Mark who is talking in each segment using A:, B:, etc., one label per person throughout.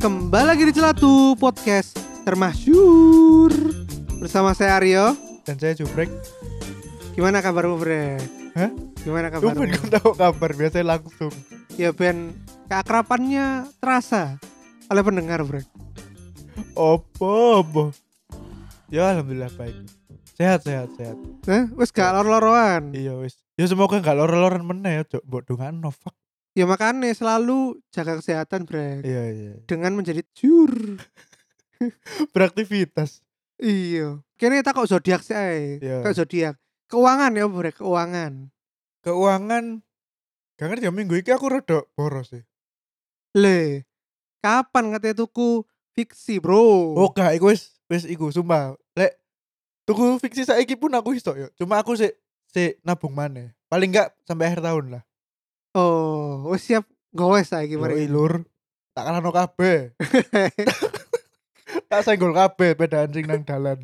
A: Kembali lagi di Celatu Podcast Termasyur Bersama saya Aryo
B: dan saya Jubrek
A: Gimana kabarmu Bre?
B: Hah?
A: Gimana
B: Tumben
A: kabarmu?
B: kau tahu kabar biasanya langsung
A: Ya Ben, keakrapannya terasa oleh pendengar Bre
B: Opo opo Ya alhamdulillah baik Sehat sehat sehat
A: Hah? Wes gak lor-loroan
B: Iya wis Ya semoga gak lor-loran meneh ya Cok Mbok dongan no fuck
A: Ya makanya selalu jaga kesehatan Bre
B: Iya iya
A: Dengan menjadi jur
B: Beraktivitas
A: Iya Kini kita kok zodiak sih eh.
B: Iya.
A: Kok zodiak Keuangan ya Bre, keuangan
B: Keuangan Gak ngerti ya minggu ini aku rada boros sih
A: Le, kapan katanya tuku fiksi bro?
B: Oh gak iku wis Wis iku sumpah Lek Tunggu fiksi saiki pun aku iso yo Cuma aku sih Si nabung maneh Paling gak sampai akhir tahun lah
A: Oh, wis siap ah, gowes ae iki
B: Yoi,
A: mari.
B: lur Tak kalah no kabeh tak senggol kabeh beda anjing nang dalan.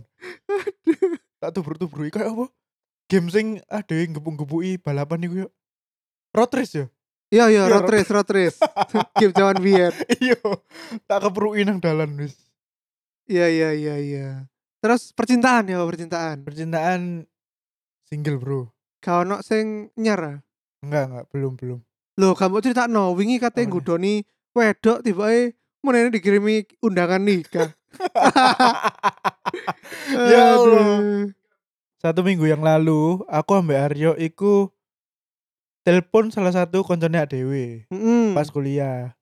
B: tak tubruk-tubruk kayak apa? Game sing ada yang gepung-gepuki balapan iku yo. Road race yo.
A: Iya iya
B: Iya,
A: road race road race. Game zaman biyen.
B: Iya, tak keperuki nang dalan wis.
A: Iya iya iya iya. Terus percintaan ya percintaan.
B: Percintaan single, Bro.
A: Kau ono sing nyer. ah.
B: Enggak, enggak, belum, belum.
A: Loh, kamu cerita no, wingi katanya
B: Apa nih?
A: gudoni wedok tiba eh mana ini dikirimi undangan nikah.
B: Ya Allah.
A: Aduh.
B: Satu minggu yang lalu, aku ambek Aryo iku telepon salah satu koncone Dewi
A: Mm-mm.
B: pas kuliah.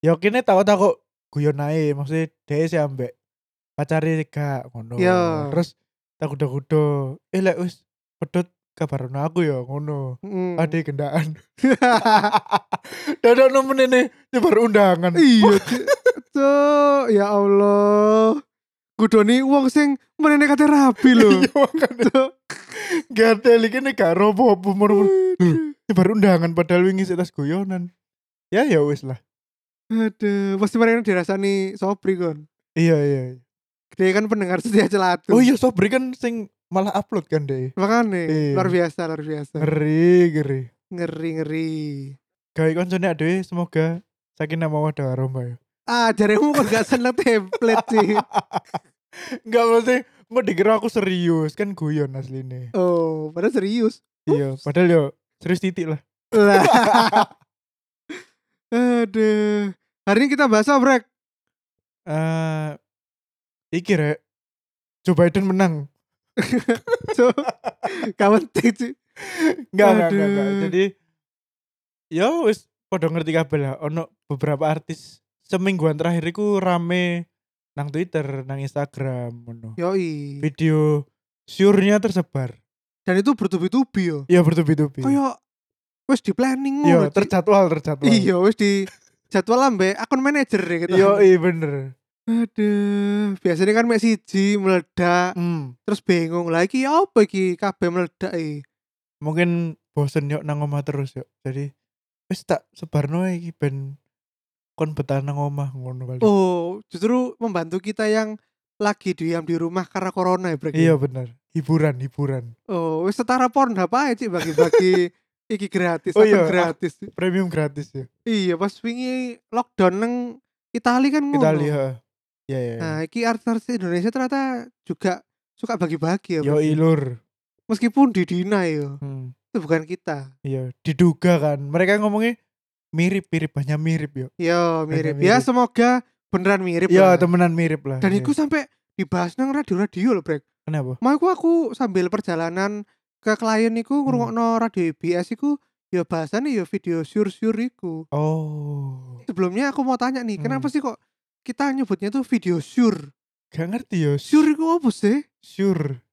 B: Ya kene tak takok guyon ae, maksudnya dhewe sih ambek pacare gak ngono.
A: Iya.
B: Terus tak kudo-kudo, eh lek wis pedot kabar aku ya ngono.
A: Mm-mm.
B: Ade gendaan. Dadak nemen ini nyebar undangan.
A: Iya, Cuk. Cuk, ya Allah. Gudoni wong sing menene kate rapi lho.
B: Iya makanya Gak ada lagi nih gak robo pumur Nyebar undangan padahal wingi sik tas guyonan Ya ya wis lah
A: Aduh, pasti mereka dirasani sobri kon.
B: Iya iya
A: Dia kan pendengar setia celatu.
B: Oh iya Sobri kan sing malah upload kan deh
A: Makanya
B: Iya.
A: luar biasa, luar biasa.
B: Ngeri ngeri
A: Ngeri ngeri.
B: gawe koncone adewe semoga sakinah mawaddah warahmah ya.
A: Ah, jaremu kok gak seneng template sih.
B: Enggak mesti mau dikira aku serius kan guyon asline.
A: Oh, padahal serius.
B: Iya, padahal yo serius titik lah.
A: Lah. Aduh. Hari ini kita bahas apa, Brek?
B: Eh iki rek Joe Biden menang.
A: Cuk. Gak penting sih.
B: Enggak enggak enggak, enggak.
A: Aduh.
B: Jadi yo wis padha ngerti kabeh lah ono beberapa artis semingguan terakhir iku rame nang Twitter, nang Instagram ngono.
A: Yoi.
B: Video syurnya tersebar.
A: Dan itu bertubi-tubi yo.
B: Iya bertubi-tubi.
A: Kayak wis di planning Ci.
B: Iya, terjadwal terjadwal.
A: Oh, Iya, wis di jadwal ambek akun manajer ya gitu.
B: Yo, iya bener.
A: Aduh, biasanya kan mek siji meledak,
B: Hmm.
A: terus bingung lah iki apa iki kabeh meledak iki.
B: Mungkin bosen yuk nang omah terus yuk. Jadi wis tak sebarno ae iki ben kon betah nang omah ngono kali.
A: Oh, justru membantu kita yang lagi diam di rumah karena corona ya, Brek.
B: Iya bener. Hiburan, hiburan.
A: Oh, wis setara Pornhub aja Cik, bagi-bagi iki gratis,
B: Oh
A: akun
B: iya,
A: gratis.
B: Premium gratis ya.
A: Iya, pas wingi lockdown nang Itali kan ngono.
B: Kita lihat. Ya ya.
A: Nah, iki artis Indonesia ternyata juga suka bagi-bagi ya.
B: Yo
A: Brek.
B: ilur.
A: Meskipun di deny yo.
B: iya, Hmm.
A: Itu bukan kita.
B: Iya, diduga kan. Mereka ngomongnya mirip-mirip banyak mirip yo.
A: Yo mirip.
B: mirip.
A: Ya semoga beneran mirip. lah.
B: Iya, temenan mirip lah.
A: Dan
B: Iya.
A: itu sampai dibahas nang radio-radio loh, Brek.
B: kenapa?
A: Mau aku, aku sambil perjalanan ke klien
B: Hmm.
A: iku ngrungokno radio IBS iku ya bahasane ya video syur-syur iku.
B: Oh.
A: Sebelumnya aku mau tanya nih,
B: Hmm.
A: kenapa sih kok kita nyebutnya tuh video syur?
B: Gak ngerti yo.
A: Syur iku apa sih?
B: Sure.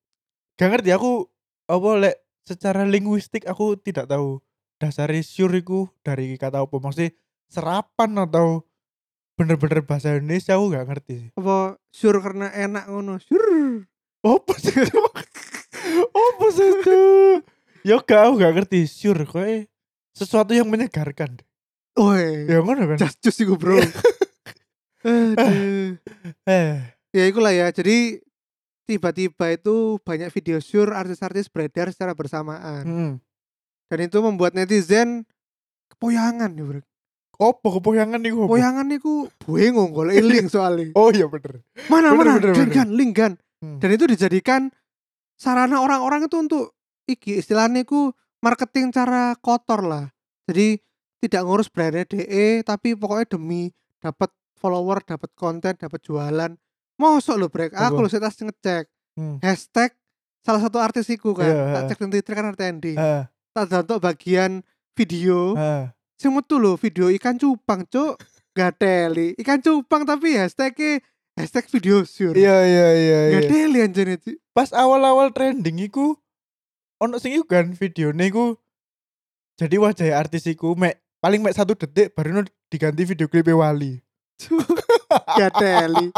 B: Gak ngerti aku apa lek secara linguistik aku tidak tahu dasarnya sure iku dari kata apa maksudnya serapan atau bener-bener bahasa Indonesia aku gak ngerti sih.
A: Apa syur karena enak ngono? Syur.
B: Apa sih itu? apa sih itu? Ya gak aku gak ngerti sure kowe sesuatu yang menyegarkan.
A: Woi,
B: Ya ngono kan.
A: just just iku, Bro. Aduh.
B: Eh,
A: ya ikulah ya jadi tiba-tiba itu banyak video syur artis-artis beredar secara bersamaan
B: mm.
A: dan itu membuat netizen kepoyangan ya bro
B: opo kepoyangan niku opo?
A: Poyangan niku bingung golek link soalnya.
B: Oh iya bener.
A: Mana
B: Bener,
A: mana
B: bener, bener.
A: linggan linggan.
B: Hmm.
A: kan? Dan itu dijadikan sarana orang-orang itu untuk iki istilahnya ku marketing cara kotor lah. Jadi tidak ngurus brandnya DE tapi pokoknya demi dapat follower, dapat konten, dapat jualan. Mosok lo brek, aku lo
B: Apa?
A: tas ngecek
B: Hmm.
A: hashtag salah satu artis iku kan. tak
B: Iya, heeh.
A: cek di Twitter kan ada trending.
B: Ah,
A: Tak jantok bagian video
B: ah.
A: sing metu lho video ikan cupang cuk gateli ikan cupang tapi hashtagnya hashtag video syur
B: Iya iya iya iya.
A: gateli anjir itu
B: Pas awal-awal trending iku ono sing iku kan videone iku jadi wajah artis iku mek paling mek satu detik baru no diganti video klip Wali.
A: gateli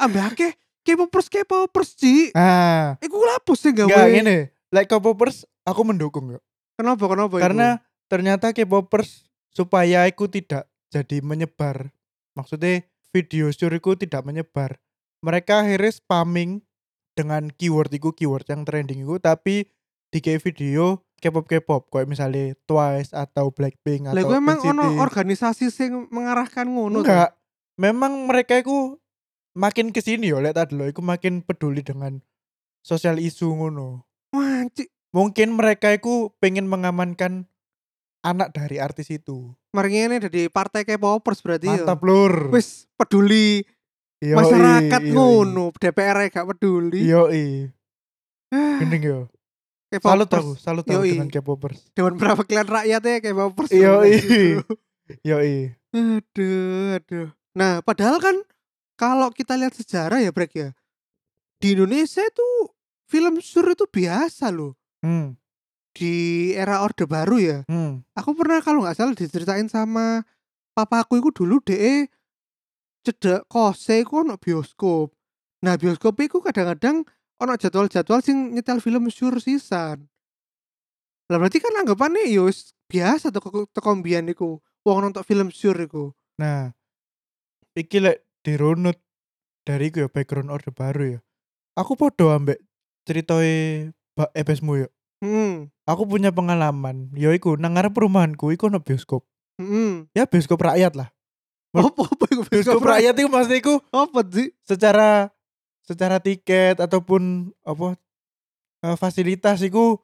A: ambake K-popers K-popers ci
B: Ah,
A: iku lapus sih gawe
B: enggak ngene. Like K-popers aku mendukung yo.
A: kenapa kenapa iku?
B: Karena ternyata K-popers supaya aku tidak jadi menyebar. Maksudnya video syuriku tidak menyebar. Mereka akhirnya spamming dengan keyword iku keyword yang trending iku tapi di kayak video K-pop K-pop kayak misalnya Twice atau Blackpink
A: lah
B: atau
A: iku emang
B: NCT.
A: ono organisasi sing mengarahkan ngono
B: Enggak. Memang mereka itu makin kesini yo lek tadi lho iku makin peduli dengan sosial isu ngono.
A: manci
B: Mungkin mereka itu pengen mengamankan anak dari artis itu.
A: mari ngene dari partai K-popers berarti ya.
B: Mantap lur.
A: wis peduli
B: Yoi,
A: masyarakat
B: yoi.
A: ngono DPR e gak peduli Ah,
B: Yoi. Gendeng yo. Salut aku, salut aku
A: Yoi.
B: dengan K-popers.
A: Dewan Perwakilan Rakyat ya K-popers
B: Yoi.
A: Aduh.
B: Yoi.
A: Aduh, aduh. Nah, padahal kan kalau kita lihat sejarah ya, Brek ya. Di Indonesia itu film sur itu biasa loh.
B: Hmm.
A: Di era Orde Baru ya.
B: Hmm.
A: Aku pernah kalau nggak salah diceritain sama papaku itu dulu DE cedek kose iku ono bioskop. Nah, bioskop iku kadang-kadang ono jadwal-jadwal sing nyetel film sur sisan. Lah berarti kan anggapannya yo wis biasa teko teko mbiyen iku. Wong nonton film sur iku.
B: Nah, iki lek dirunut dari iku ya background orde baru ya. Aku podo ambek ceritoi Mbak Ebesmu ya.
A: Hmm.
B: Aku punya pengalaman, yaiku nang ngarep perumahanku iku ono bioskop.
A: Hmm.
B: Ya bioskop rakyat lah.
A: Apa apa iku
B: Bioskop rakyat itu maksudnya iku
A: Apa sih?
B: secara secara tiket ataupun apa eh, fasilitas iku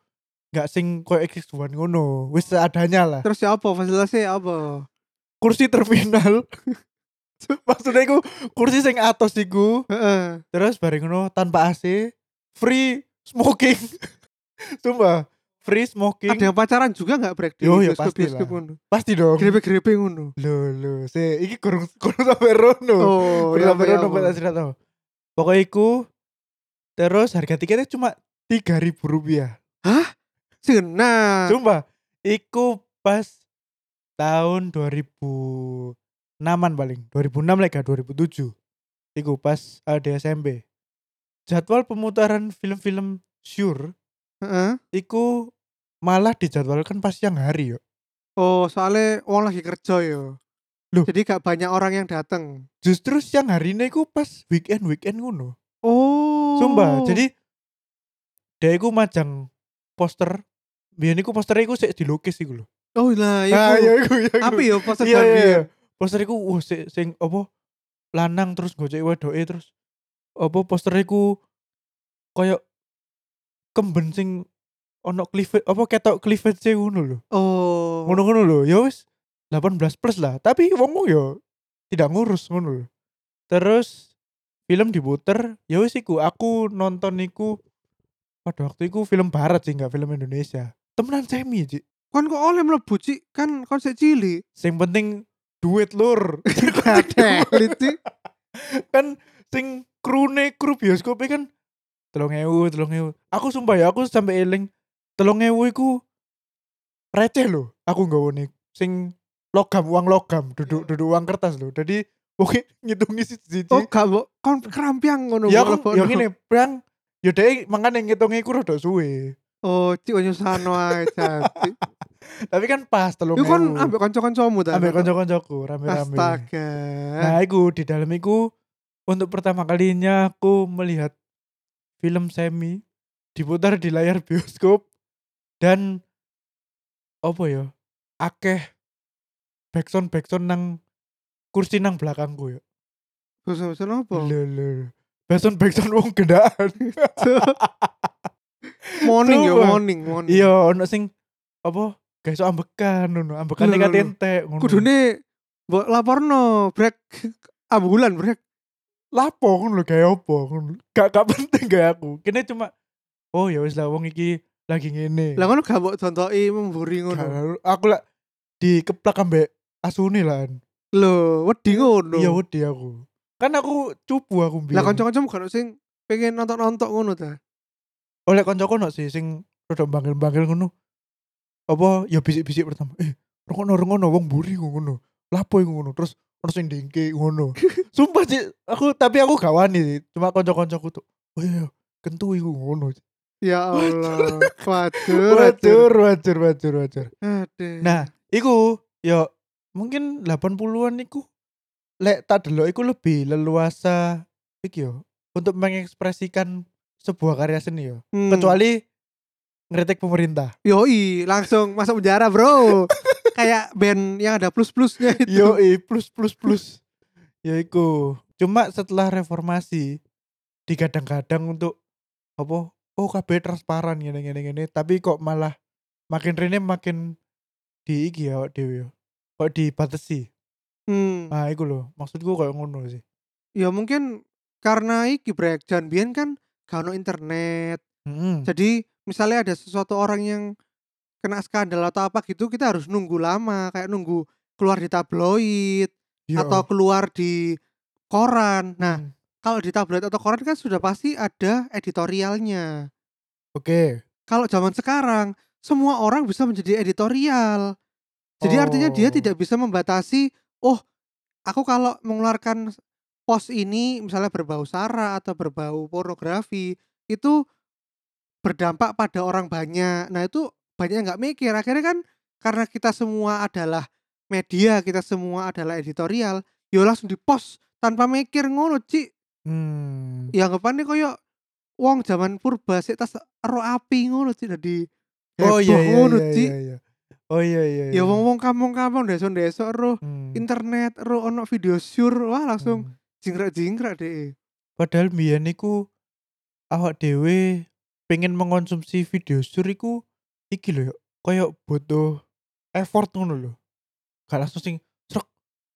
B: nggak sing koyo X1 ngono, wis seadanya lah.
A: Terus ya apa fasilitasnya apa?
B: Kursi terminal. maksudnya iku kursi sing atos iku
A: Heeh.
B: Terus bareng ngono tanpa AC, free smoking. Sumpah, free
A: Ada
B: smoking.
A: yang pacaran juga nggak break di
B: Yo, yo,
A: bioskop bioskop
B: pastilah.
A: ngono.
B: Pasti dong.
A: Grepe-grepe ngono.
B: Lho, lho, se iki kurang kurang sampai rono.
A: Oh,
B: kurang
A: ya
B: sampai rono
A: apa, ya
B: pas
A: apa.
B: asli tau. Pokoknya iku terus harga tiketnya cuma 3000 rupiah.
A: Senang.
B: Sumpah, iku pas tahun 2000 naman paling 2006 lah gak, 2007 iku pas eh, di SMP jadwal pemutaran film-film Sure
A: Heeh.
B: iku malah dijadwalkan pas siang hari yo.
A: Oh, soalnya wong lagi kerja yo.
B: Loh.
A: Jadi gak banyak orang yang datang.
B: Justru siang hari ini iku pas weekend weekend ngono.
A: Oh.
B: Sumpah. Jadi dia iku majang poster. Biyen iku poster iku sik dilukis iku lho.
A: oh lah iku.
B: Ah, ya iku ya. iku.
A: Apa yo poster
B: Iya
A: ban
B: iya. iya.
A: biyen?
B: Poster iku wah sik sing apa lanang terus gojek wedoke terus apa poster iku koyo kemben sing ono clivet apa ketok clivet sing ngono lho.
A: Oh.
B: ngono-ngono lho ya wis 18 plus lah tapi wong wong ya tidak ngurus ngono lho terus film diputer ya wis iku aku nonton iku pada waktu iku film barat sih nggak film Indonesia temenan semi Cik.
A: Kon kok oleh mlebu Cik? kan kon sik cilik.
B: sing penting duit lur
A: Gateli Cik.
B: kan sing krune kru bioskopnya kan telung ewu telung ewu aku sumpah ya aku sampai eling telung ewu iku receh lho aku nggak nih sing logam uang logam duduk duduk uang kertas lho jadi mungkin ngitungi si siji
A: Iya. Oh, gak mbok kon kerampiang ngono.
B: ya
A: mbok lebono.
B: aku yang ini perang ya deh makanya ngitungnya aku rada suwe
A: Oh, cik wis nyusahno ae cantik.
B: tapi kan pas telung
A: Iku
B: ewu
A: kon ambek kanca-kancamu ta?
B: ambil konco-koncoku rame-rame
A: Astaga.
B: Nah, iku di dalam iku untuk pertama kalinya aku melihat film semi diputar di layar bioskop dan apa ya? Akeh backsound backsound nang kursi nang belakangku ya.
A: Bosan-bosan apa?
B: Lho lho. Backsound backsound wong gendaan.
A: Hmm. morning ya,
B: Sumpah.
A: morning, morning.
B: iya, ono sing apa? Guys, ambekan ngono. Ambekan
A: Lho, lho,
B: iki
A: lho.
B: entek ngono.
A: Kudune mbok laporno brek ambulan brek.
B: lapo ngono lho kayak apa ngono. Gak gak penting gak aku. Kene cuma oh ya wis lah wong iki lagi ngene.
A: Lah ngono gak mbok contoki memburi
B: Iya. Gak
A: ngono.
B: lalu- aku lah dikeplak ambek asune lah.
A: Lho, wedi ngono.
B: Iya wedi aku. Kan aku cupu aku biyen.
A: Lah kanca-kancamu gak ono sing pengen nonton-nonton ngono ta.
B: oleh kancaku no sih sing rada bangil-bangil ngono. Apa ya bisik-bisik pertama. Eh, rungono rungono wong buri ngono. Lapo iku ngono. Terus terus sing dengki ngono. Sumpah sih aku tapi aku gak wani sih. Cuma kanca-kancaku tuh. Oh iya, iya, kentu iku ngono.
A: Ya Allah. Waduh, waduh.
B: Wajar, wajar, wajar, wajar.
A: Aduh.
B: Nah, iku ya mungkin 80-an iku lek tak delok iku lebih leluasa iki yo untuk mengekspresikan sebuah karya seni yo.
A: Hmm.
B: Kecuali ngeritik pemerintah.
A: Yoi, langsung masuk penjara, Bro. Kayak band yang ada plus-plusnya itu.
B: Yo plus plus plus. ya iku. Cuma setelah reformasi digadang-gadang untuk apa? Oh KB transparan gini gini gini. Tapi kok malah makin rene makin di iki ya awak dhewe ya. Kok dibatasi.
A: Hmm.
B: Nah, iku loh. Maksudku kayak ngono sih.
A: Ya mungkin karena iki brek Jan Bian kan gak ono internet.
B: Heeh.
A: Jadi misalnya ada sesuatu orang yang kena skandal atau apa gitu, kita harus nunggu lama, kayak nunggu keluar di tabloid
B: Iya,
A: atau
B: oh.
A: keluar di koran.
B: Hmm.
A: Nah,
B: Mm.
A: kalau di tabloid atau koran kan sudah pasti ada editorialnya.
B: oke.
A: Kalau zaman sekarang, semua orang bisa menjadi editorial. Jadi artinya dia
B: Oh.
A: tidak bisa membatasi, oh, aku kalau mengeluarkan post ini misalnya berbau sara atau berbau pornografi itu berdampak pada orang banyak. Nah, itu banyak yang nggak mikir. Akhirnya kan karena kita semua adalah media, kita semua adalah editorial, yo langsung di-post tanpa mikir ngono, Ci.
B: Hmm.
A: Ya anggapane koyo wong zaman purba sik tas ero api ngono, Ci, dadi heboh
B: Oh iya iya
A: ngono,
B: iya,
A: Ci.
B: iya, iya. Oh iya iya.
A: Ya
B: iya.
A: wong-wong kampung-kampung desa-desa ero
B: Hmm.
A: internet ro ono video syur wah langsung
B: Hmm.
A: jingkrak jingkrak deh
B: Padahal mbiyen iku awak dhewe pengen mengonsumsi video sur iku iki lho yuk, koyo butuh effort ngono lho. Gak langsung sing srek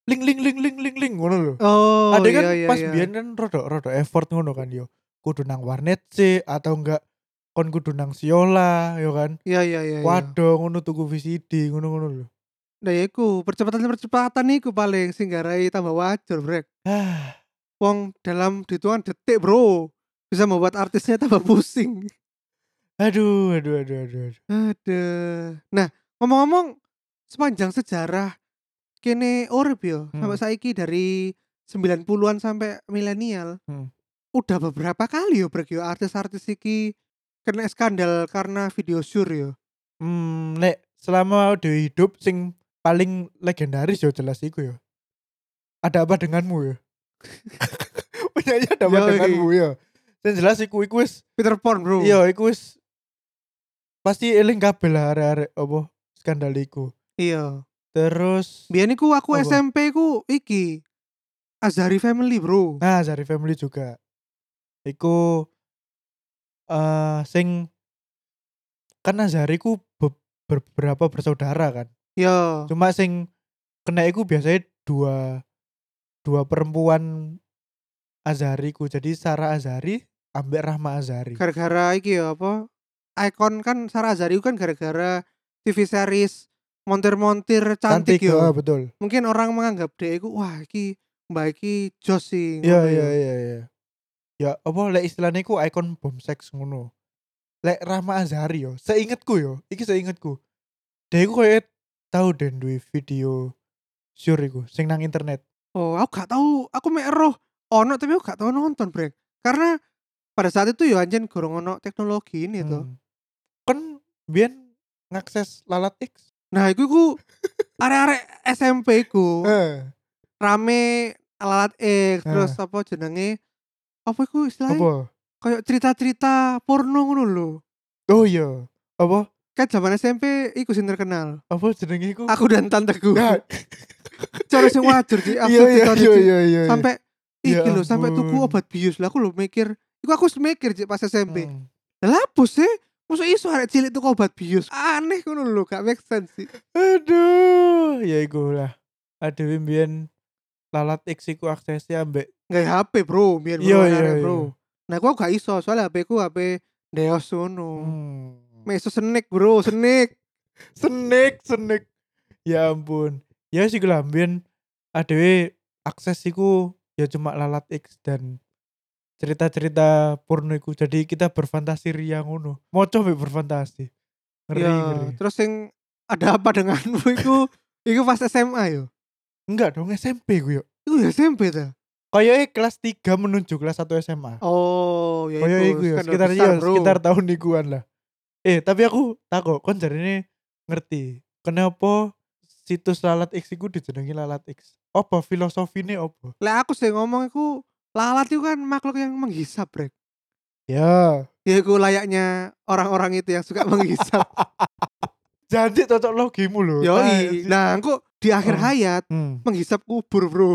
B: link link link link link link ngono lho.
A: oh
B: Ada kan
A: iya, iya,
B: pas
A: iya.
B: mbiyen kan rada rada effort ngono kan yo. Kudu nang warnet sih atau enggak kon kudu nang siola yo kan.
A: iya iya iya iya.
B: Waduh ngono tuku VCD ngono-ngono lho.
A: nah ya iku percepatan percepatan iku paling singgarai tambah wajar brek
B: Ah,
A: wong dalam hitungan detik bro bisa membuat artisnya tambah pusing
B: aduh aduh aduh aduh. aduh.
A: ada nah ngomong-ngomong sepanjang sejarah kene urip yo
B: Hmm.
A: sampai saiki dari 90-an sampai milenial
B: Hmm.
A: udah beberapa kali yo brek yo artis-artis iki kena skandal karena video syur yo
B: Hmm, nek selama dewi hidup sing paling legendaris ya jelas iku ya. Ada apa denganmu ya? Penyanyi ada apa
A: Yoi.
B: denganmu ya. Sing jelas iku iku wis
A: Peter Pan bro
B: iya iku wis pasti eling kabeh lah arek-arek apa skandal iku.
A: Iya.
B: Terus
A: Biyen iku aku
B: Apa?
A: SMP ku iki Azhari Family, Bro.
B: nah Zari Family juga. Iku eh sing karena Zari ku be- beberapa bersaudara kan.
A: Iya.
B: Cuma sing kena iku biasanya dua dua perempuan Azhariku. Jadi Sarah Azhari ambek Rahma Azhari.
A: Gara-gara iki ya apa? Ikon kan Sarah Azhari ku kan gara-gara TV series montir-montir cantik,
B: ah,
A: yo.
B: betul.
A: Mungkin orang menganggap dia iku wah iki mbak iki jos sih.
B: Iya
A: ngono ya.
B: iya
A: yo.
B: iya iya. Ya apa lek istilahnya iku ikon bom seks ngono. Lek Rahma Azhari yo, seingetku yo, iki seingetku. Dia iku koyo tau den duwe video sure iku sing nang internet.
A: Oh, aku gak tahu, aku mek roh ono tapi aku gak tau nonton, Brek. Karena pada saat itu yo anjen gorong ono teknologi ini tuh.
B: Hmm. Kan biyen ngakses lalat X.
A: Nah, iku iku arek-arek SMP ku.
B: Eh,
A: rame lalat X
B: Ah.
A: terus apa jenenge apa iku istilahnya
B: apa?
A: kayak cerita-cerita porno ngono lho
B: Oh iya. Apa?
A: kan zaman SMP iku sing terkenal.
B: apa jenenge iku
A: Aku dan tanteku.
B: Nah,
A: Cara sing wajar sih aku
B: iya iya
A: cerita
B: iya
A: sih.
B: iya iya
A: Sampai
B: Ya
A: iki lho, sampai tuku
B: ampun.
A: obat bius lah aku lho mikir. Iku aku mikir sih pas SMP.
B: Hmm.
A: Lah apa sih? Masa iso arek cilik tuku obat bius? Aneh ngono lho, gak make sense sih.
B: aduh ya iku lah ada mbiyen lalat iksiku aksesnya ambek
A: Gak HP, Bro. Biar
B: Iya,
A: bro,
B: iya,
A: arek,
B: iya.
A: bro. Nah, aku gak iso soalnya HP ku HP Deos ngono.
B: hmm.
A: Meso senik, Bro, senik.
B: senik senik ya ampun ya sih gue ambien adewe akses iku ya cuma lalat X dan cerita-cerita porno iku jadi kita berfantasi ria ngono mau coba berfantasi ngeri
A: Iya,
B: ngeri
A: terus sing ada apa denganmu iku iku pas SMA yo.
B: enggak dong SMP gue yuk
A: Iku ya SMP ta.
B: kayaknya kelas 3 menuju kelas 1 SMA
A: Oh, ya
B: Kaya iku ya, sekitar iya, sekitar tahun nikuan lah. Eh, tapi aku takut, kon jarine ngerti. Kenapa situs lalat X iku dijenengi lalat X? Apa filosofine apa?
A: Lah aku sih ngomong iku lalat itu kan makhluk yang menghisap, Brek.
B: Ya.
A: Ya iku layaknya orang-orang itu yang suka menghisap.
B: Janji cocok logimu lho.
A: Yoi.
B: Nah,
A: Nah, aku di akhir
B: Oh.
A: hayat
B: hmm,
A: menghisap kubur, Bro.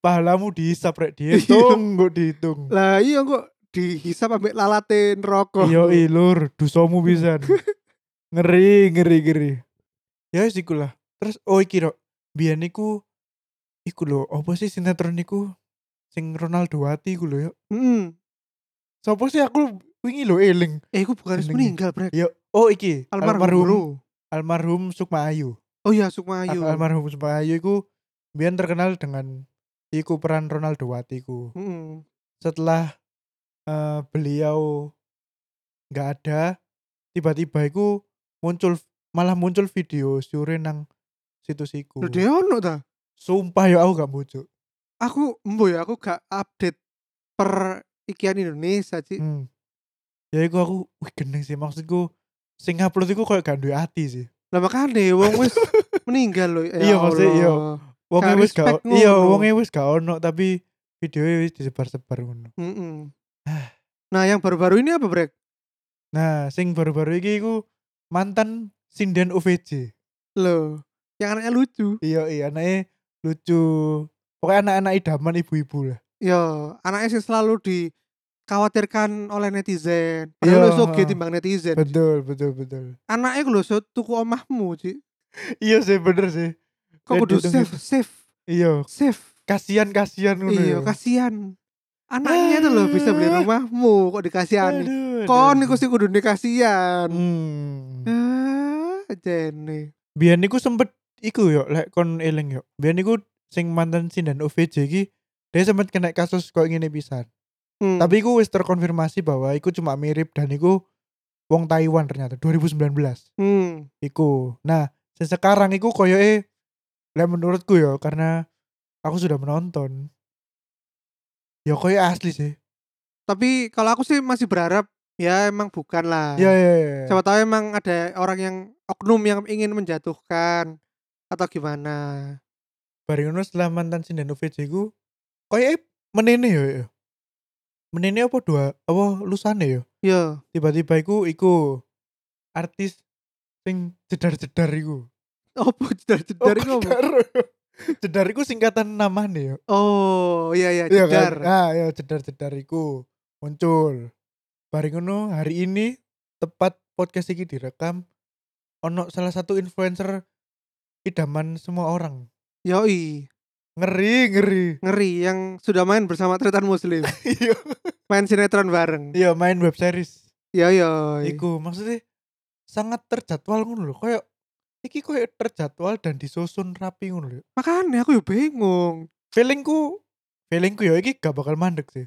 B: pahalamu dihisap rek dihitung, kok dihitung.
A: Lah iya kok dihisap ambek lalatin rokok.
B: Iya ilur, dusomu pisan. ngeri, ngeri, ngeri. Ya wis iku lah. Terus oh iki rok, biyen iku iku lho, apa sih sinetron iku sing Ronaldo Wati iku lho ya.
A: Mm.
B: Sopo sih aku wingi lho eling.
A: Eh, iku bukan
B: Jenenge.
A: meninggal, Brek.
B: Ya oh iki
A: Almarhum. Bro.
B: almarhum Sukma Ayu.
A: Oh iya, Sukma
B: Al-
A: Ayu.
B: Almarhum Sukma Ayu iku biyen terkenal dengan iku peran Ronaldo Wati iku.
A: Mm-mm.
B: setelah eh, beliau nggak ada tiba-tiba itu muncul malah muncul video sore nang situs iku
A: Lho, dia ono ta?
B: sumpah ya aku gak bujuk
A: aku embo ya aku gak update per ikian Indonesia sih
B: hmm. ya iku aku wih gendeng sih maksudku sing upload iku kayak gak duwe ati sih
A: lah makanya wong wis meninggal ya loh
B: Iya, maksudnya iya. wonge
A: Gak
B: wis gak
A: respect
B: iya
A: ngono.
B: wonge wis gak ono tapi video wis disebar-sebar ngono
A: nah yang baru-baru ini apa brek
B: nah sing baru-baru iki iku mantan sinden UVJ
A: lo yang anaknya lucu
B: iya iya anaknya lucu pokoknya anak-anak idaman ibu-ibu lah
A: ya anaknya sih selalu dikhawatirkan oleh netizen
B: Iya.
A: padahal lu soge timbang netizen Ci.
B: betul betul betul
A: anaknya lu so tuku omahmu sih
B: iya sih bener sih
A: kok
B: Ya,
A: kudu
B: dihitung
A: save
B: gitu.
A: save
B: iya
A: save
B: kasihan kasihan ngono
A: iya
B: ya. Eh.
A: kasihan anaknya tuh lo bisa beli rumahmu kok dikasihani
B: Aduh,
A: kon
B: aduh.
A: iku sih kudu dikasihan
B: hmm.
A: Ah, jene.
B: biar niku sempet iku yo lek kon eling yo biar niku sing mantan sindan OVJ iki dia sempet kena kasus kok ngene pisan
A: Hmm.
B: tapi iku wis terkonfirmasi bahwa iku cuma mirip dan iku wong Taiwan ternyata 2019
A: hmm.
B: iku nah sing sekarang iku koyoke lek menurutku yo karena aku sudah menonton ya koyo asli sih
A: Tapi kalau aku sih masih berharap ya emang bukan lah.
B: ya ya ya
A: Siapa tahu emang ada orang yang oknum yang ingin menjatuhkan atau gimana.
B: bareng ngono setelah mantan sinden UVJ ku koyo menene yo yo. menene apa dua apa lusane yo
A: Yo,
B: tiba-tiba iku iku artis sing jedar-jedar iku
A: opo jedar-jedar iku
B: Oh,
A: apa?
B: jedar. jedar iku singkatan namane yo
A: Oh, iya iya
B: Iya kan?
A: jedar.
B: Ah, ya jedar-jedar iku muncul. Bareng ngono hari ini tepat podcast iki direkam ono salah satu influencer idaman semua orang.
A: Yoi,
B: Ngeri, ngeri.
A: ngeri yang sudah main bersama Tretan Muslim.
B: Iya.
A: main sinetron bareng.
B: Iya, main web series.
A: Yo yo.
B: Iku maksudnya sangat terjadwal ngono lho. Kayak iki koyo terjadwal dan disusun rapi ngono lho.
A: Makanya aku yo bingung.
B: Feelingku feelingku ya iki gak bakal mandek sih.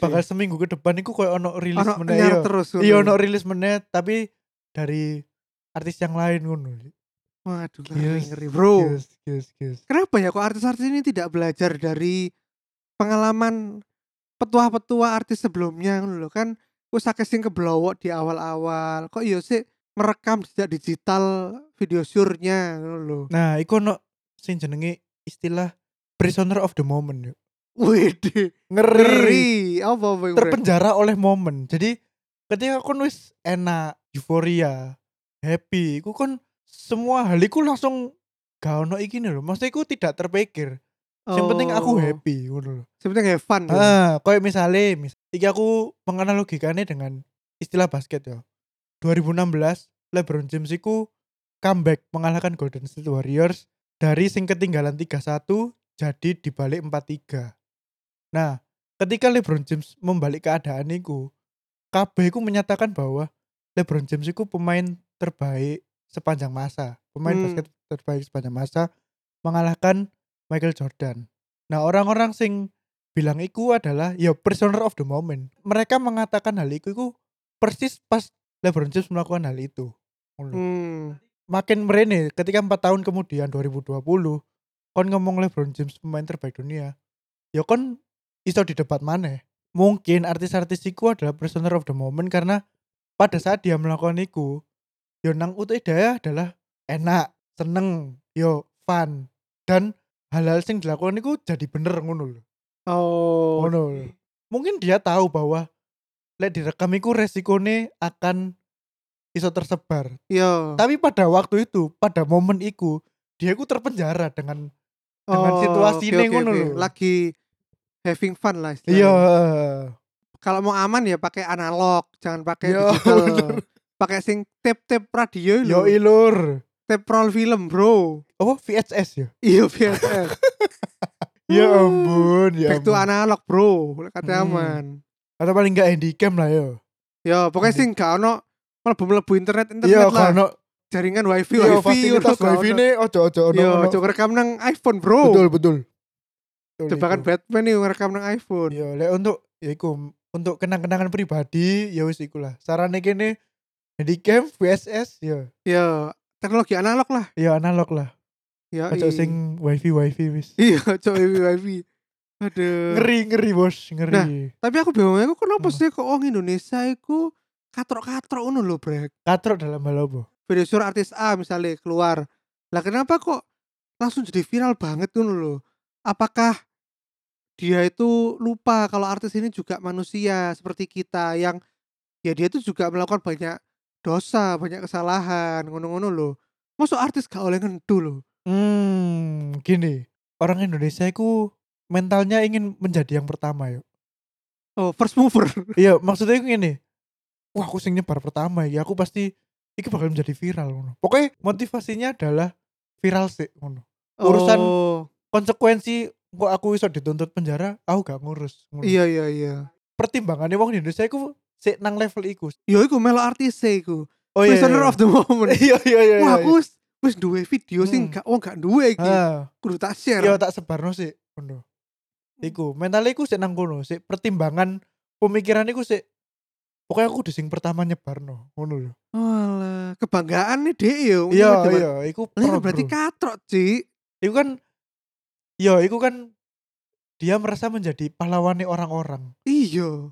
A: Waduh.
B: bakal seminggu ke depan iku koyo ono rilis
A: Ono
B: meneh
A: nyar
B: yo.
A: terus.
B: iya
A: ngono.
B: ono rilis meneh tapi dari artis yang lain ngono
A: Waduh,
B: Yes,
A: ngeri, ngeri bro.
B: yes yes yes
A: kenapa ya kok artis-artis ini tidak belajar dari pengalaman petua-petua artis sebelumnya ngono lho kan usake sing keblowok di awal-awal kok iya sih merekam sejak digital video syurnya ngono lho
B: nah iku ono sing jenenge istilah prisoner of the moment yuk.
A: wih
B: ngeri,
A: ngeri apa apa iku, Bre?
B: terpenjara oleh momen jadi ketika kon wis enak euforia happy iku kan semua hal iku langsung gak ono iki nih lho maksudnya iku tidak terpikir yang penting aku
A: Oh.
B: happy ngono lho
A: Yang penting have fun. ya.
B: Ah, kayak misalnya, mis iki aku menganalogikannya dengan istilah basket ya. 2016, LeBron James iku comeback mengalahkan Golden State Warriors dari sing ketinggalan 3-1 jadi dibalik 4-3. Nah, ketika LeBron James membalik keadaan iku, kabeh iku menyatakan bahwa LeBron James iku pemain terbaik sepanjang masa, pemain
A: Hmm.
B: basket terbaik sepanjang masa mengalahkan Michael Jordan. Nah, orang-orang sing bilang iku adalah ya prisoner of the moment. Mereka mengatakan hal iku iku persis pas LeBron James melakukan hal itu. Ngono.
A: Hmm.
B: Makin merene ketika 4 tahun kemudian 2020 kon ngomong LeBron James pemain terbaik dunia. Ya kon iso didebat maneh. Mungkin artis-artis iku adalah prisoner of the moment karena pada saat dia melakukan iku yo nang utek daya adalah enak, seneng, yo fun dan hal-hal sing dilakukan iku jadi bener ngono lho.
A: Oh.
B: Ngono lho. Mungkin dia tahu bahwa lek direkam iku resikone akan iso tersebar.
A: Iya.
B: Tapi pada waktu itu, pada momen iku, dia iku terpenjara dengan dengan
A: Oh,
B: situasi
A: oke,
B: ini
A: oke,
B: ngono
A: oke.
B: lho.
A: Lagi having fun lah istilahnya.
B: Iya.
A: Kalau mau aman ya pakai analog, jangan pakai
B: Iya, bener.
A: digital. Pakai sing tape-tape radio
B: Yo iya.
A: lho.
B: ilur.
A: Tape roll film, Bro.
B: Apa VHS ya?
A: Iya, VHS.
B: Ya ampun, ya
A: Back to
B: ampun.
A: analog, Bro. Kata
B: Hmm.
A: aman.
B: Atau paling enggak handycam lah yo.
A: Ya, pokoknya sing gak ono mlebu-mlebu internet internet
B: Iya,
A: lah.
B: karena iya,
A: Jaringan wifi
B: yo
A: wifi
B: fasilitas wifi ini ojo-ojo
A: Yo,
B: ono.
A: coba rekam nang iPhone, Bro.
B: Betul, betul. Betul
A: Coba kan
B: iku.
A: Batman nih rekam nang iPhone.
B: Yo, lek untuk ya iku untuk kenang-kenangan pribadi ya wis iku lah. Sarane kene handycam VSS ya.
A: Ya, teknologi analog lah.
B: Ya analog lah.
A: Ya,
B: Ojo
A: i-
B: sing wifi wifi wis.
A: Iya, cok wifi wifi. Aduh.
B: Ngeri Hmm. ngeri bos, ngeri.
A: Nah. Tapi aku bingung aku kenapa
B: Apa?
A: sih kok wong Indonesia iku katrok-katrok ngono lho, Brek.
B: Katrok dalam hal apa?
A: Video sur artis A misalnya keluar. Lah kenapa kok langsung jadi viral banget ngono lho? Apakah dia itu lupa kalau artis ini juga manusia seperti kita yang ya dia itu juga melakukan banyak dosa, banyak kesalahan, ngono-ngono lho. Masuk artis gak oleh ngentu lho.
B: Hmm, gini. Orang Indonesia itu mentalnya ingin menjadi yang pertama yuk.
A: Oh, first mover.
B: iya, maksudnya itu gini. Wah, aku sing nyebar pertama ya. Aku pasti iki bakal menjadi viral ngono. Pokoknya motivasinya adalah viral sih ngono. Urusan
A: Oh,
B: Konsekuensi kok aku iso dituntut penjara, aku gak ngurus. ngono.
A: iya iya iya.
B: Pertimbangannya wong di Indonesia iku sik nang level iku.
A: Yo iku melo artis e iku.
B: Oh
A: Prisoner of the moment.
B: Iya iya iya.
A: Wah,
B: iya.
A: aku wis wis duwe video sing
B: Hmm.
A: gak oh gak duwe iki.
B: Ah.
A: Kudu tak share.
B: Iya tak sebarno sih ngono. Iku mentalnya iku sik nang kono, sik pertimbangan pemikiran iku sik pokoknya aku udah sing pertama nyebarno ngono lho.
A: Walah, kebanggaan nih dek yo.
B: Iya iya, iku
A: Lah
B: pro,
A: berarti
B: bro.
A: katrok, Ci.
B: Iku kan iya iku kan dia merasa menjadi pahlawannya orang-orang.
A: Iya.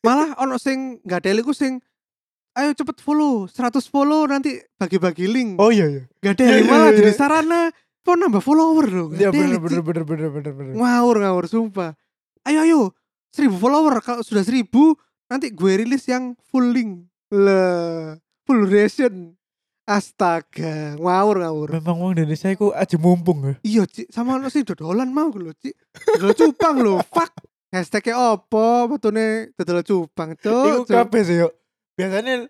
A: Malah ono sing gak ada iku sing ayo cepet follow 100 follow nanti bagi-bagi link.
B: Oh iya iya.
A: gak ada
B: iya, iya,
A: malah
B: iya.
A: jadi sarana mau nambah follower lho.
B: Iya
A: Gadeli,
B: bener
A: Ci.
B: bener bener bener bener bener.
A: ngawur ngawur sumpah ayo ayo seribu follower kalau sudah seribu nanti gue rilis yang full link le full duration astaga ngawur ngawur
B: Memang wong Indonesia iku aja mumpung ya.
A: iya cik sama lo sih dodolan mau lo cik dodolan cupang lo fuck hashtagnya opo betulnya dodolan cupang
B: Iku
A: tuh
B: kabeh sih yo. Biasanya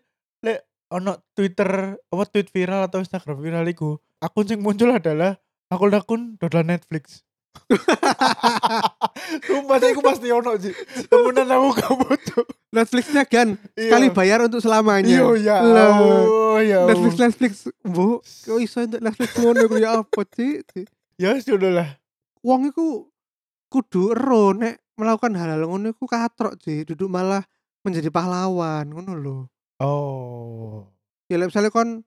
B: lek ono Twitter apa tweet viral atau Instagram viral iku, akun sing muncul adalah akun-akun dodolan Netflix. Sumpah sih aku pasti ono sih. Temenan aku gak butuh.
A: Netflixnya kan
B: Iya.
A: sekali bayar untuk selamanya
B: Iya ya.
A: Lah,
B: Allah, ya. Allah.
A: Netflix Netflix bu
B: Oh,
A: kau iso untuk Netflix ngono iku ya apa cik Cik?
B: Ya sudah lah.
A: wong iku kudu ero nek melakukan hal-hal ngono iku katrok sih duduk malah menjadi pahlawan ngono lho
B: Oh.
A: ya like, misalnya kon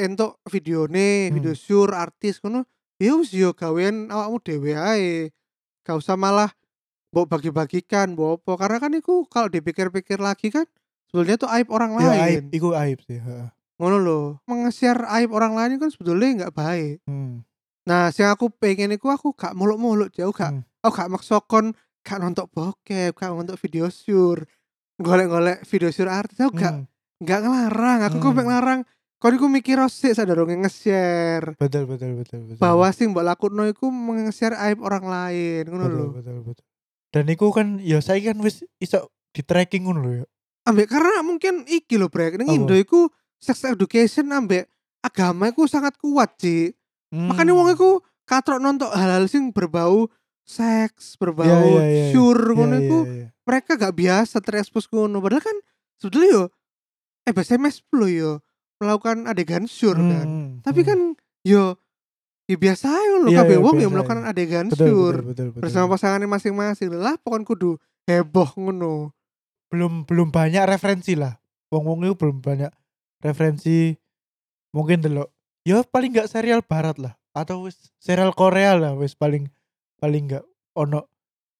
A: entuk videone
B: Hmm.
A: video syur artis ngono ya wis yo gawean awakmu dhewe ae gak usah malah mbok bagi-bagikan mbok apa karena kan iku kalau dipikir-pikir lagi kan sebenarnya tuh aib orang
B: Ya
A: lain
B: aib, iku aib sih. heeh.
A: ngono lho meng-share aib orang lain kan sebetulnya nggak baik
B: Hmm.
A: Nah, sing aku pengen iku aku gak muluk-muluk jauh gak.
B: Hmm.
A: Aku Oh, gak maksa kon gak nonton bokep, gak nonton video syur. Golek-golek video syur artis aku gak
B: Hmm.
A: nggak ngelarang aku kok
B: Hmm.
A: mek ngelarang kon iku mikir sik sadurunge nge-share
B: betul betul betul betul
A: bahwa sing mbok lakuno iku meng-share aib orang lain ngono lho
B: betul, betul betul dan iku kan ya saya kan wis iso di tracking ngono lho ya
A: ambek karena mungkin iki lho brek ning
B: Apa?
A: Indo iku sex education ambek agama iku sangat kuat sih makanya Hmm. wong
B: Hmm.
A: iku katrok nonton hal-hal sing berbau seks berbau
B: Ya, ya, ya, ya.
A: syur
B: Iya,
A: ngono
B: iya,
A: iku
B: iya.
A: mereka gak biasa terekspos ngono padahal kan sebetulnya yo eh SMS lo yo melakukan adegan syur kan
B: Hmm,
A: tapi
B: hmm.
A: kan yo ya biasa ayo lo
B: Iya,
A: kabeh
B: iya,
A: wong yo
B: biasa
A: melakukan
B: ae.
A: adegan
B: betul,
A: syur
B: betul, betul, betul.
A: bersama pasangannya masing-masing lah pokoknya kudu heboh ngono
B: belum belum banyak referensi lah wong wong itu belum banyak referensi mungkin delok ya paling nggak serial barat lah atau wis serial Korea lah wis paling paling nggak ono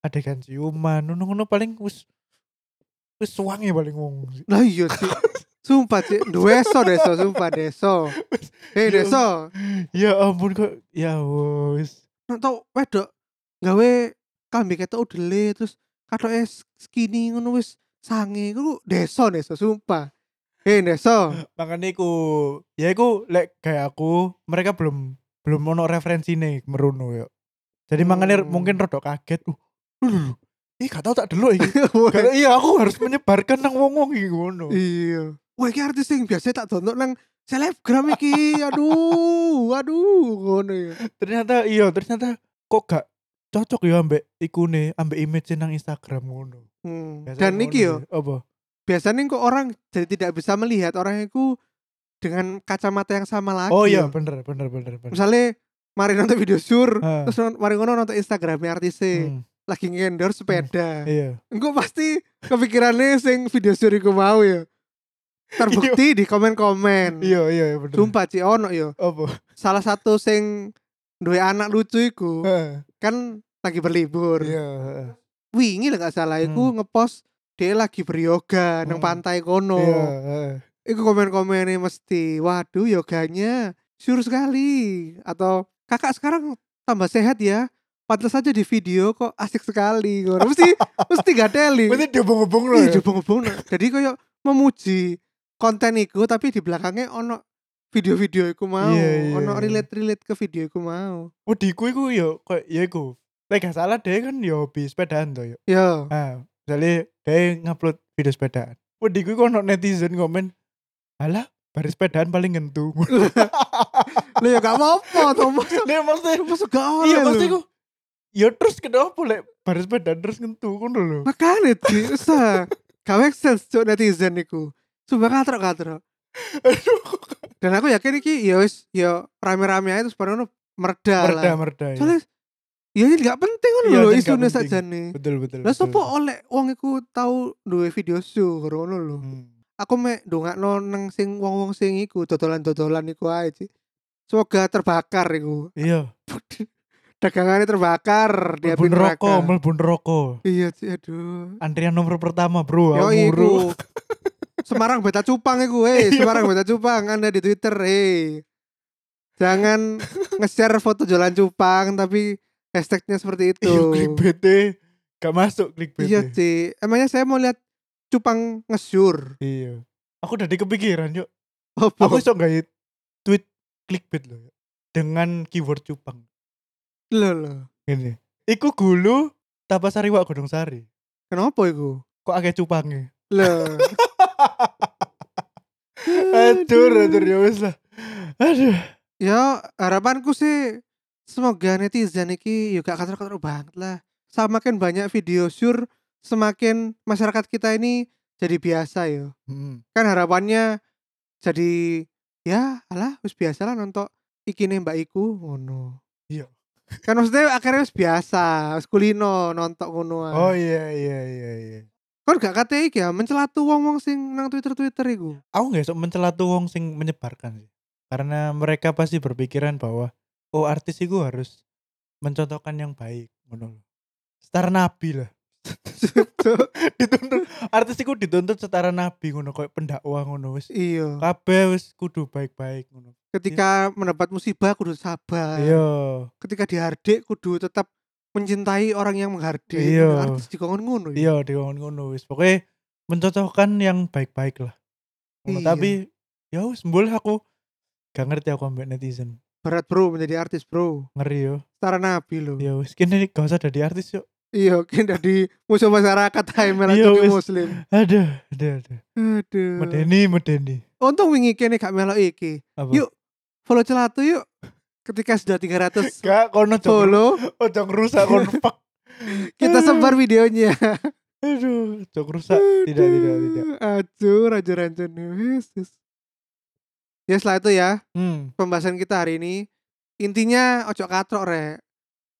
B: adegan ciuman ngono ngono paling wis wis suangi paling wong
A: lah iya sih sumpah sih deso deso sumpah deso hei
B: Yo.
A: deso
B: ya ampun kok ya wis
A: nek tau wedok gawe kambing ketok udele terus katoke skinny ngono wis sange iku deso deso sumpah hei deso
B: makanya iku ya iku lek kayak aku mereka belum belum ono referensi nih meruno ya jadi makanya
A: Hmm.
B: mungkin rodok kaget uh, lho, lho, lho. ih gak tau tak delok iki Karena iya aku harus menyebarkan nang wong wong iki ngono.
A: iya wah iki artis sing biasa tak download nang selebgram iki aduh aduh ngono ya
B: Ternyata iya, ternyata kok gak cocok ya ambek ikune, ambek image nang Instagram ngono.
A: Hmm.
B: Biasanya
A: dan
B: ngono
A: iki yo
B: sih. apa?
A: biasanya kok orang jadi tidak bisa melihat orang itu dengan kacamata yang sama lagi
B: Oh
A: yo.
B: iya, bener bener bener bener.
A: misalnya mari nonton video sur
B: Ah,
A: terus non- mari ngono nonton Instagramnya artisnya
B: hmm,
A: lagi ngendor sepeda
B: iya.
A: engko pasti kepikirannya sing video suri ku mau ya terbukti di komen-komen
B: Iya iya iya, bener.
A: Hmm. sumpah Ci, ono yo
B: Apa?
A: salah satu sing dua anak lucu iku
B: Heeh,
A: kan lagi berlibur
B: Eh. Iya. heeh.
A: wingi lah gak salah iku ngepost dia lagi beryoga nang
B: Hmm.
A: pantai kono
B: Iya. heeh.
A: iku komen-komennya mesti waduh yoganya syur sekali atau kakak sekarang tambah sehat ya pantas saja di video kok asik sekali ngono. mesti mesti gak teli
B: Berarti dia bong-bong loh.
A: Iya
B: ya?
A: jebong-jebong. nah. Jadi koyo memuji konten iku tapi di belakangnya ono video-video iku mau,
B: Iya, iya,
A: ono
B: iya.
A: relate-relate ke video iku mau.
B: Wediku iku yo kok ya iku. Lek gak salah dia kan yo hobi sepedaan to yo.
A: Yo,
B: Ah, misalnya dia ngupload video sepedaan. Wedi gue kok ono netizen komen, alah baris sepedaan paling ngentu.
A: lo ya gak apa-apa to, Mas.
B: Nih maksudnya,
A: Mas gak oleh.
B: iya
A: lho.
B: maksudnya gue, ya terus kenapa lek baris sepedaan terus ngentu kan dulu.
A: Makanya Ci, usah. Gak make sense cuk netizen iku. Sumpah katrok-katrok.
B: Aduh,
A: Dan aku yakin iki ya wis ya rame-rame aja terus baru mereda
B: merda
A: lah.
B: merda. ya.
A: Soalnya ya ini gak penting kan
B: Iya,
A: lho
B: ini gak
A: isune
B: penting.
A: sakjane.
B: Betul betul.
A: Lah
B: betul.
A: sopo oleh wong iku tau duwe video syukur ngono lho.
B: Hmm.
A: aku mek ndongakno nang sing wong-wong sing iku dodolan-dodolan iku ae Ci. Semoga terbakar iku.
B: Iya,
A: Dagangannya terbakar di api
B: melbun
A: neraka.
B: rokok, melbun rokok.
A: Iya Ci, aduh.
B: Antrian nomor pertama bro,
A: Yo
B: amuru.
A: iku. Semarang Beta Cupang iku, eh
B: Iya.
A: Semarang Beta Cupang Anda di Twitter, eh. Jangan nge-share foto jualan cupang tapi hashtagnya seperti
B: Iya,
A: itu.
B: klik BT, gak masuk klik BT.
A: Iya Ci. Emangnya saya mau lihat cupang ngesyur.
B: Iya. Aku udah kepikiran yuk. Aku
A: Apa?
B: iso nggak tweet clickbait loh dengan keyword cupang
A: Lho, lho.
B: ini iku gulu tapasari wak godong sari
A: Kenapa iku?
B: kok akeh cupangnya
A: Lho.
B: aduh aduh ya wis lah aduh
A: Ya harapanku sih semoga netizen iki ya gak kater-kater banget lah. Semakin banyak video syur, semakin masyarakat kita ini jadi biasa ya.
B: hmm.
A: Kan harapannya jadi ya alah wis biasa lah nonton iki nih mbak iku ngono.
B: Iya.
A: Kan maksudnya akhirnya wis biasa, wis kulino nonton ngono. ae.
B: oh iya iya iya iya
A: Kon gak kate iki ya mencela tuh wong-wong sing nang Twitter-Twitter iku.
B: aku nggak sok mencela tuh wong sing menyebarkan sih karena mereka pasti berpikiran bahwa oh artis itu harus mencontohkan yang baik ngono loh. star nabi lah dituntut artis itu dituntut setara nabi ngono kayak pendakwah ngono wis
A: iya.
B: kabeh wis kudu baik-baik ngono.
A: Ketika mendapat musibah kudu sabar.
B: Iya.
A: ketika dihardik kudu tetap mencintai orang yang menghardik
B: Iya.
A: artis dikongon ngono ya
B: Iya, dia ngono wis. Pokoke mencontohkan yang baik-baik lah. Ngono.
A: Iya.
B: Tapi ya wis mbul aku gak ngerti aku ambek netizen.
A: Berat bro menjadi artis bro.
B: Ngeri yo.
A: Setara nabi loh.
B: Ya wis kene gak usah dadi artis yo.
A: Iya, kan dari musuh masyarakat Haimel
B: Iya,
A: Acuni
B: wis.
A: Muslim.
B: Aduh, aduh, aduh.
A: Aduh.
B: Medeni, medeni.
A: Untung wingi kene gak melok iki.
B: Apa?
A: Yuk. Follow celatu yuk. Ketika sudah 300
B: Gak kono jong
A: follow,
B: oh jong rusak kon fuck.
A: kita sebar videonya.
B: Aduh, jong rusak. Tidak, tidak, tidak.
A: Aduh, rajur rancun. Yesus. Ya setelah itu ya,
B: Hmm.
A: pembahasan kita hari ini. Intinya ojo katrok rek.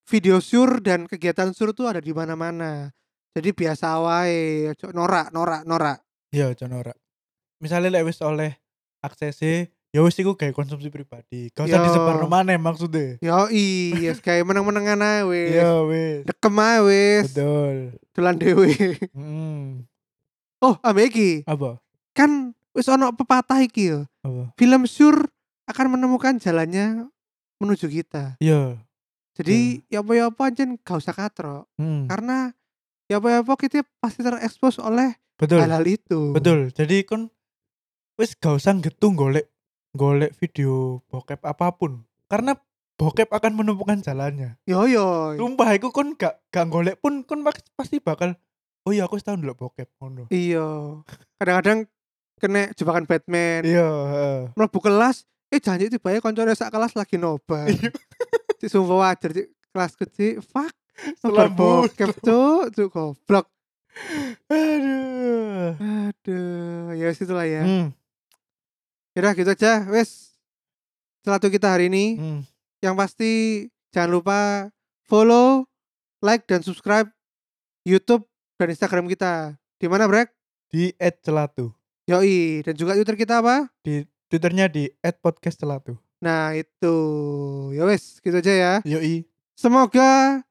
A: Video sur dan kegiatan sur tuh ada di mana-mana. Jadi biasa wae, ojo norak, norak, norak.
B: Ya jong ora. Misalnya lek wis oleh aksese ya wis iku gawe konsumsi pribadi. Gak usah
A: Yo.
B: disebar maneh maksudnya.
A: Yo iya, kayak meneng-menengan ae wis.
B: Ya wis.
A: Dekem ae wis.
B: Betul.
A: Dolan dhewe.
B: Hmm.
A: Oh, ambe iki.
B: Apa?
A: Kan wis ono pepatah iki yo.
B: Apa?
A: Film sur akan menemukan jalannya menuju kita.
B: Ya.
A: Jadi ya apa ya apa anjen gak usah katrok.
B: Iya. Hmm.
A: Karena ya apa ya apa kita pasti terekspos oleh
B: Betul.
A: hal-hal itu.
B: Betul. Jadi kon wis gak usah ngetung golek golek video bokep apapun. Karena bokep akan menemukan jalannya.
A: Yo yo.
B: Sumpah iku kon gak gak golek pun kon pak- pasti bakal oh iya aku setahun dulu bokep ngono.
A: Iya. Kadang-kadang kena jebakan Batman.
B: Iya, heeh.
A: Mlebu kelas, eh janji tiba ya koncone sak kelas lagi nobar.
B: Iya.
A: Cik sumpah wajar cik kelas kecil. Fuck. Nobar
B: Selambut.
A: bokep cuk, cuk goblok.
B: Aduh.
A: Aduh, ya wis itulah ya.
B: Hmm.
A: Yaudah gitu aja, wes. Selatu kita hari ini,
B: hmm.
A: yang pasti jangan lupa follow, like dan subscribe YouTube dan Instagram kita. Di mana, Brek?
B: Di at celatu.
A: Yoi, dan juga Twitter kita apa?
B: Twitternya di at podcast celatu.
A: Nah, itu. Ya wes, gitu aja ya.
B: Yoi.
A: Semoga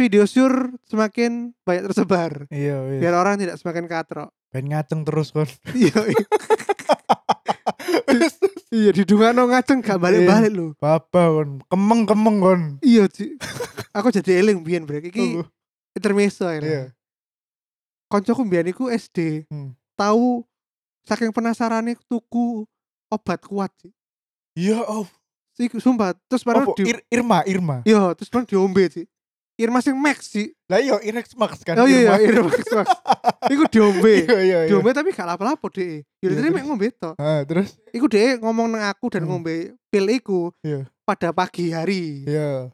A: video sur semakin banyak tersebar.
B: Iya, wis.
A: Biar orang tidak semakin katrok.
B: Ben ngaceng terus kon.
A: Yoi. Iya, di Dungano ngaceng
B: Iya.
A: gak balik-balik loh.
B: Baba kon, kemeng-kemeng kon.
A: Iya, Ci. Aku jadi eling biyen, Brek. Iki intermezzo ya.
B: Iya.
A: Koncoku mbiyen iku SD.
B: Hmm.
A: Tahu saking penasarannya tuku obat kuat sih.
B: Iya, oh.
A: Iku sumpah terus baru
B: Apa?
A: di
B: Ir- Irma, Irma.
A: Yo, terus baru diombe sih. Irma sing Max sih.
B: Lah iya Irex Max
A: Oh
B: kan.
A: iya
B: Irma.
A: iya Irma Max Max. Iku diombe.
B: Iya iya iya.
A: Diombe tapi gak lapo-lapo deh. Yo
B: Iya,
A: tadi
B: terus?
A: mek ngombe to.
B: Ah, terus
A: Iku deh ngomong nang aku dan
B: Hmm.
A: ngombe pil iku
B: Iya.
A: pada pagi hari.
B: iya.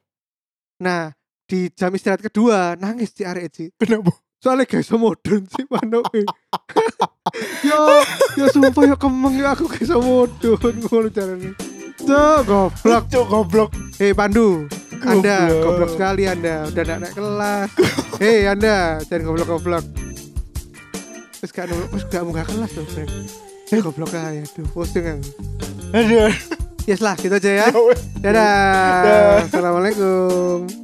A: Nah, di jam istirahat kedua nangis di arek sih.
B: Kenapa?
A: soalnya gak iso modern sih manoke e. yo yo sumpah yo kemeng yo aku gak iso modern ngono carane Cok, goblok.
B: Cok goblok.
A: Hei Pandu, Anda
B: Goblok.
A: goblok sekali Anda. Udah gak naik kelas. Hei Anda, jangan goblok-goblok. Terus gak nol, terus gak munggah kelas loh, Frank. Eh goblok aja, aduh pusing aku.
B: Aduh.
A: Yes lah, gitu aja ya.
B: Ya wes.
A: Dadah.
B: Dah.
A: Assalamualaikum.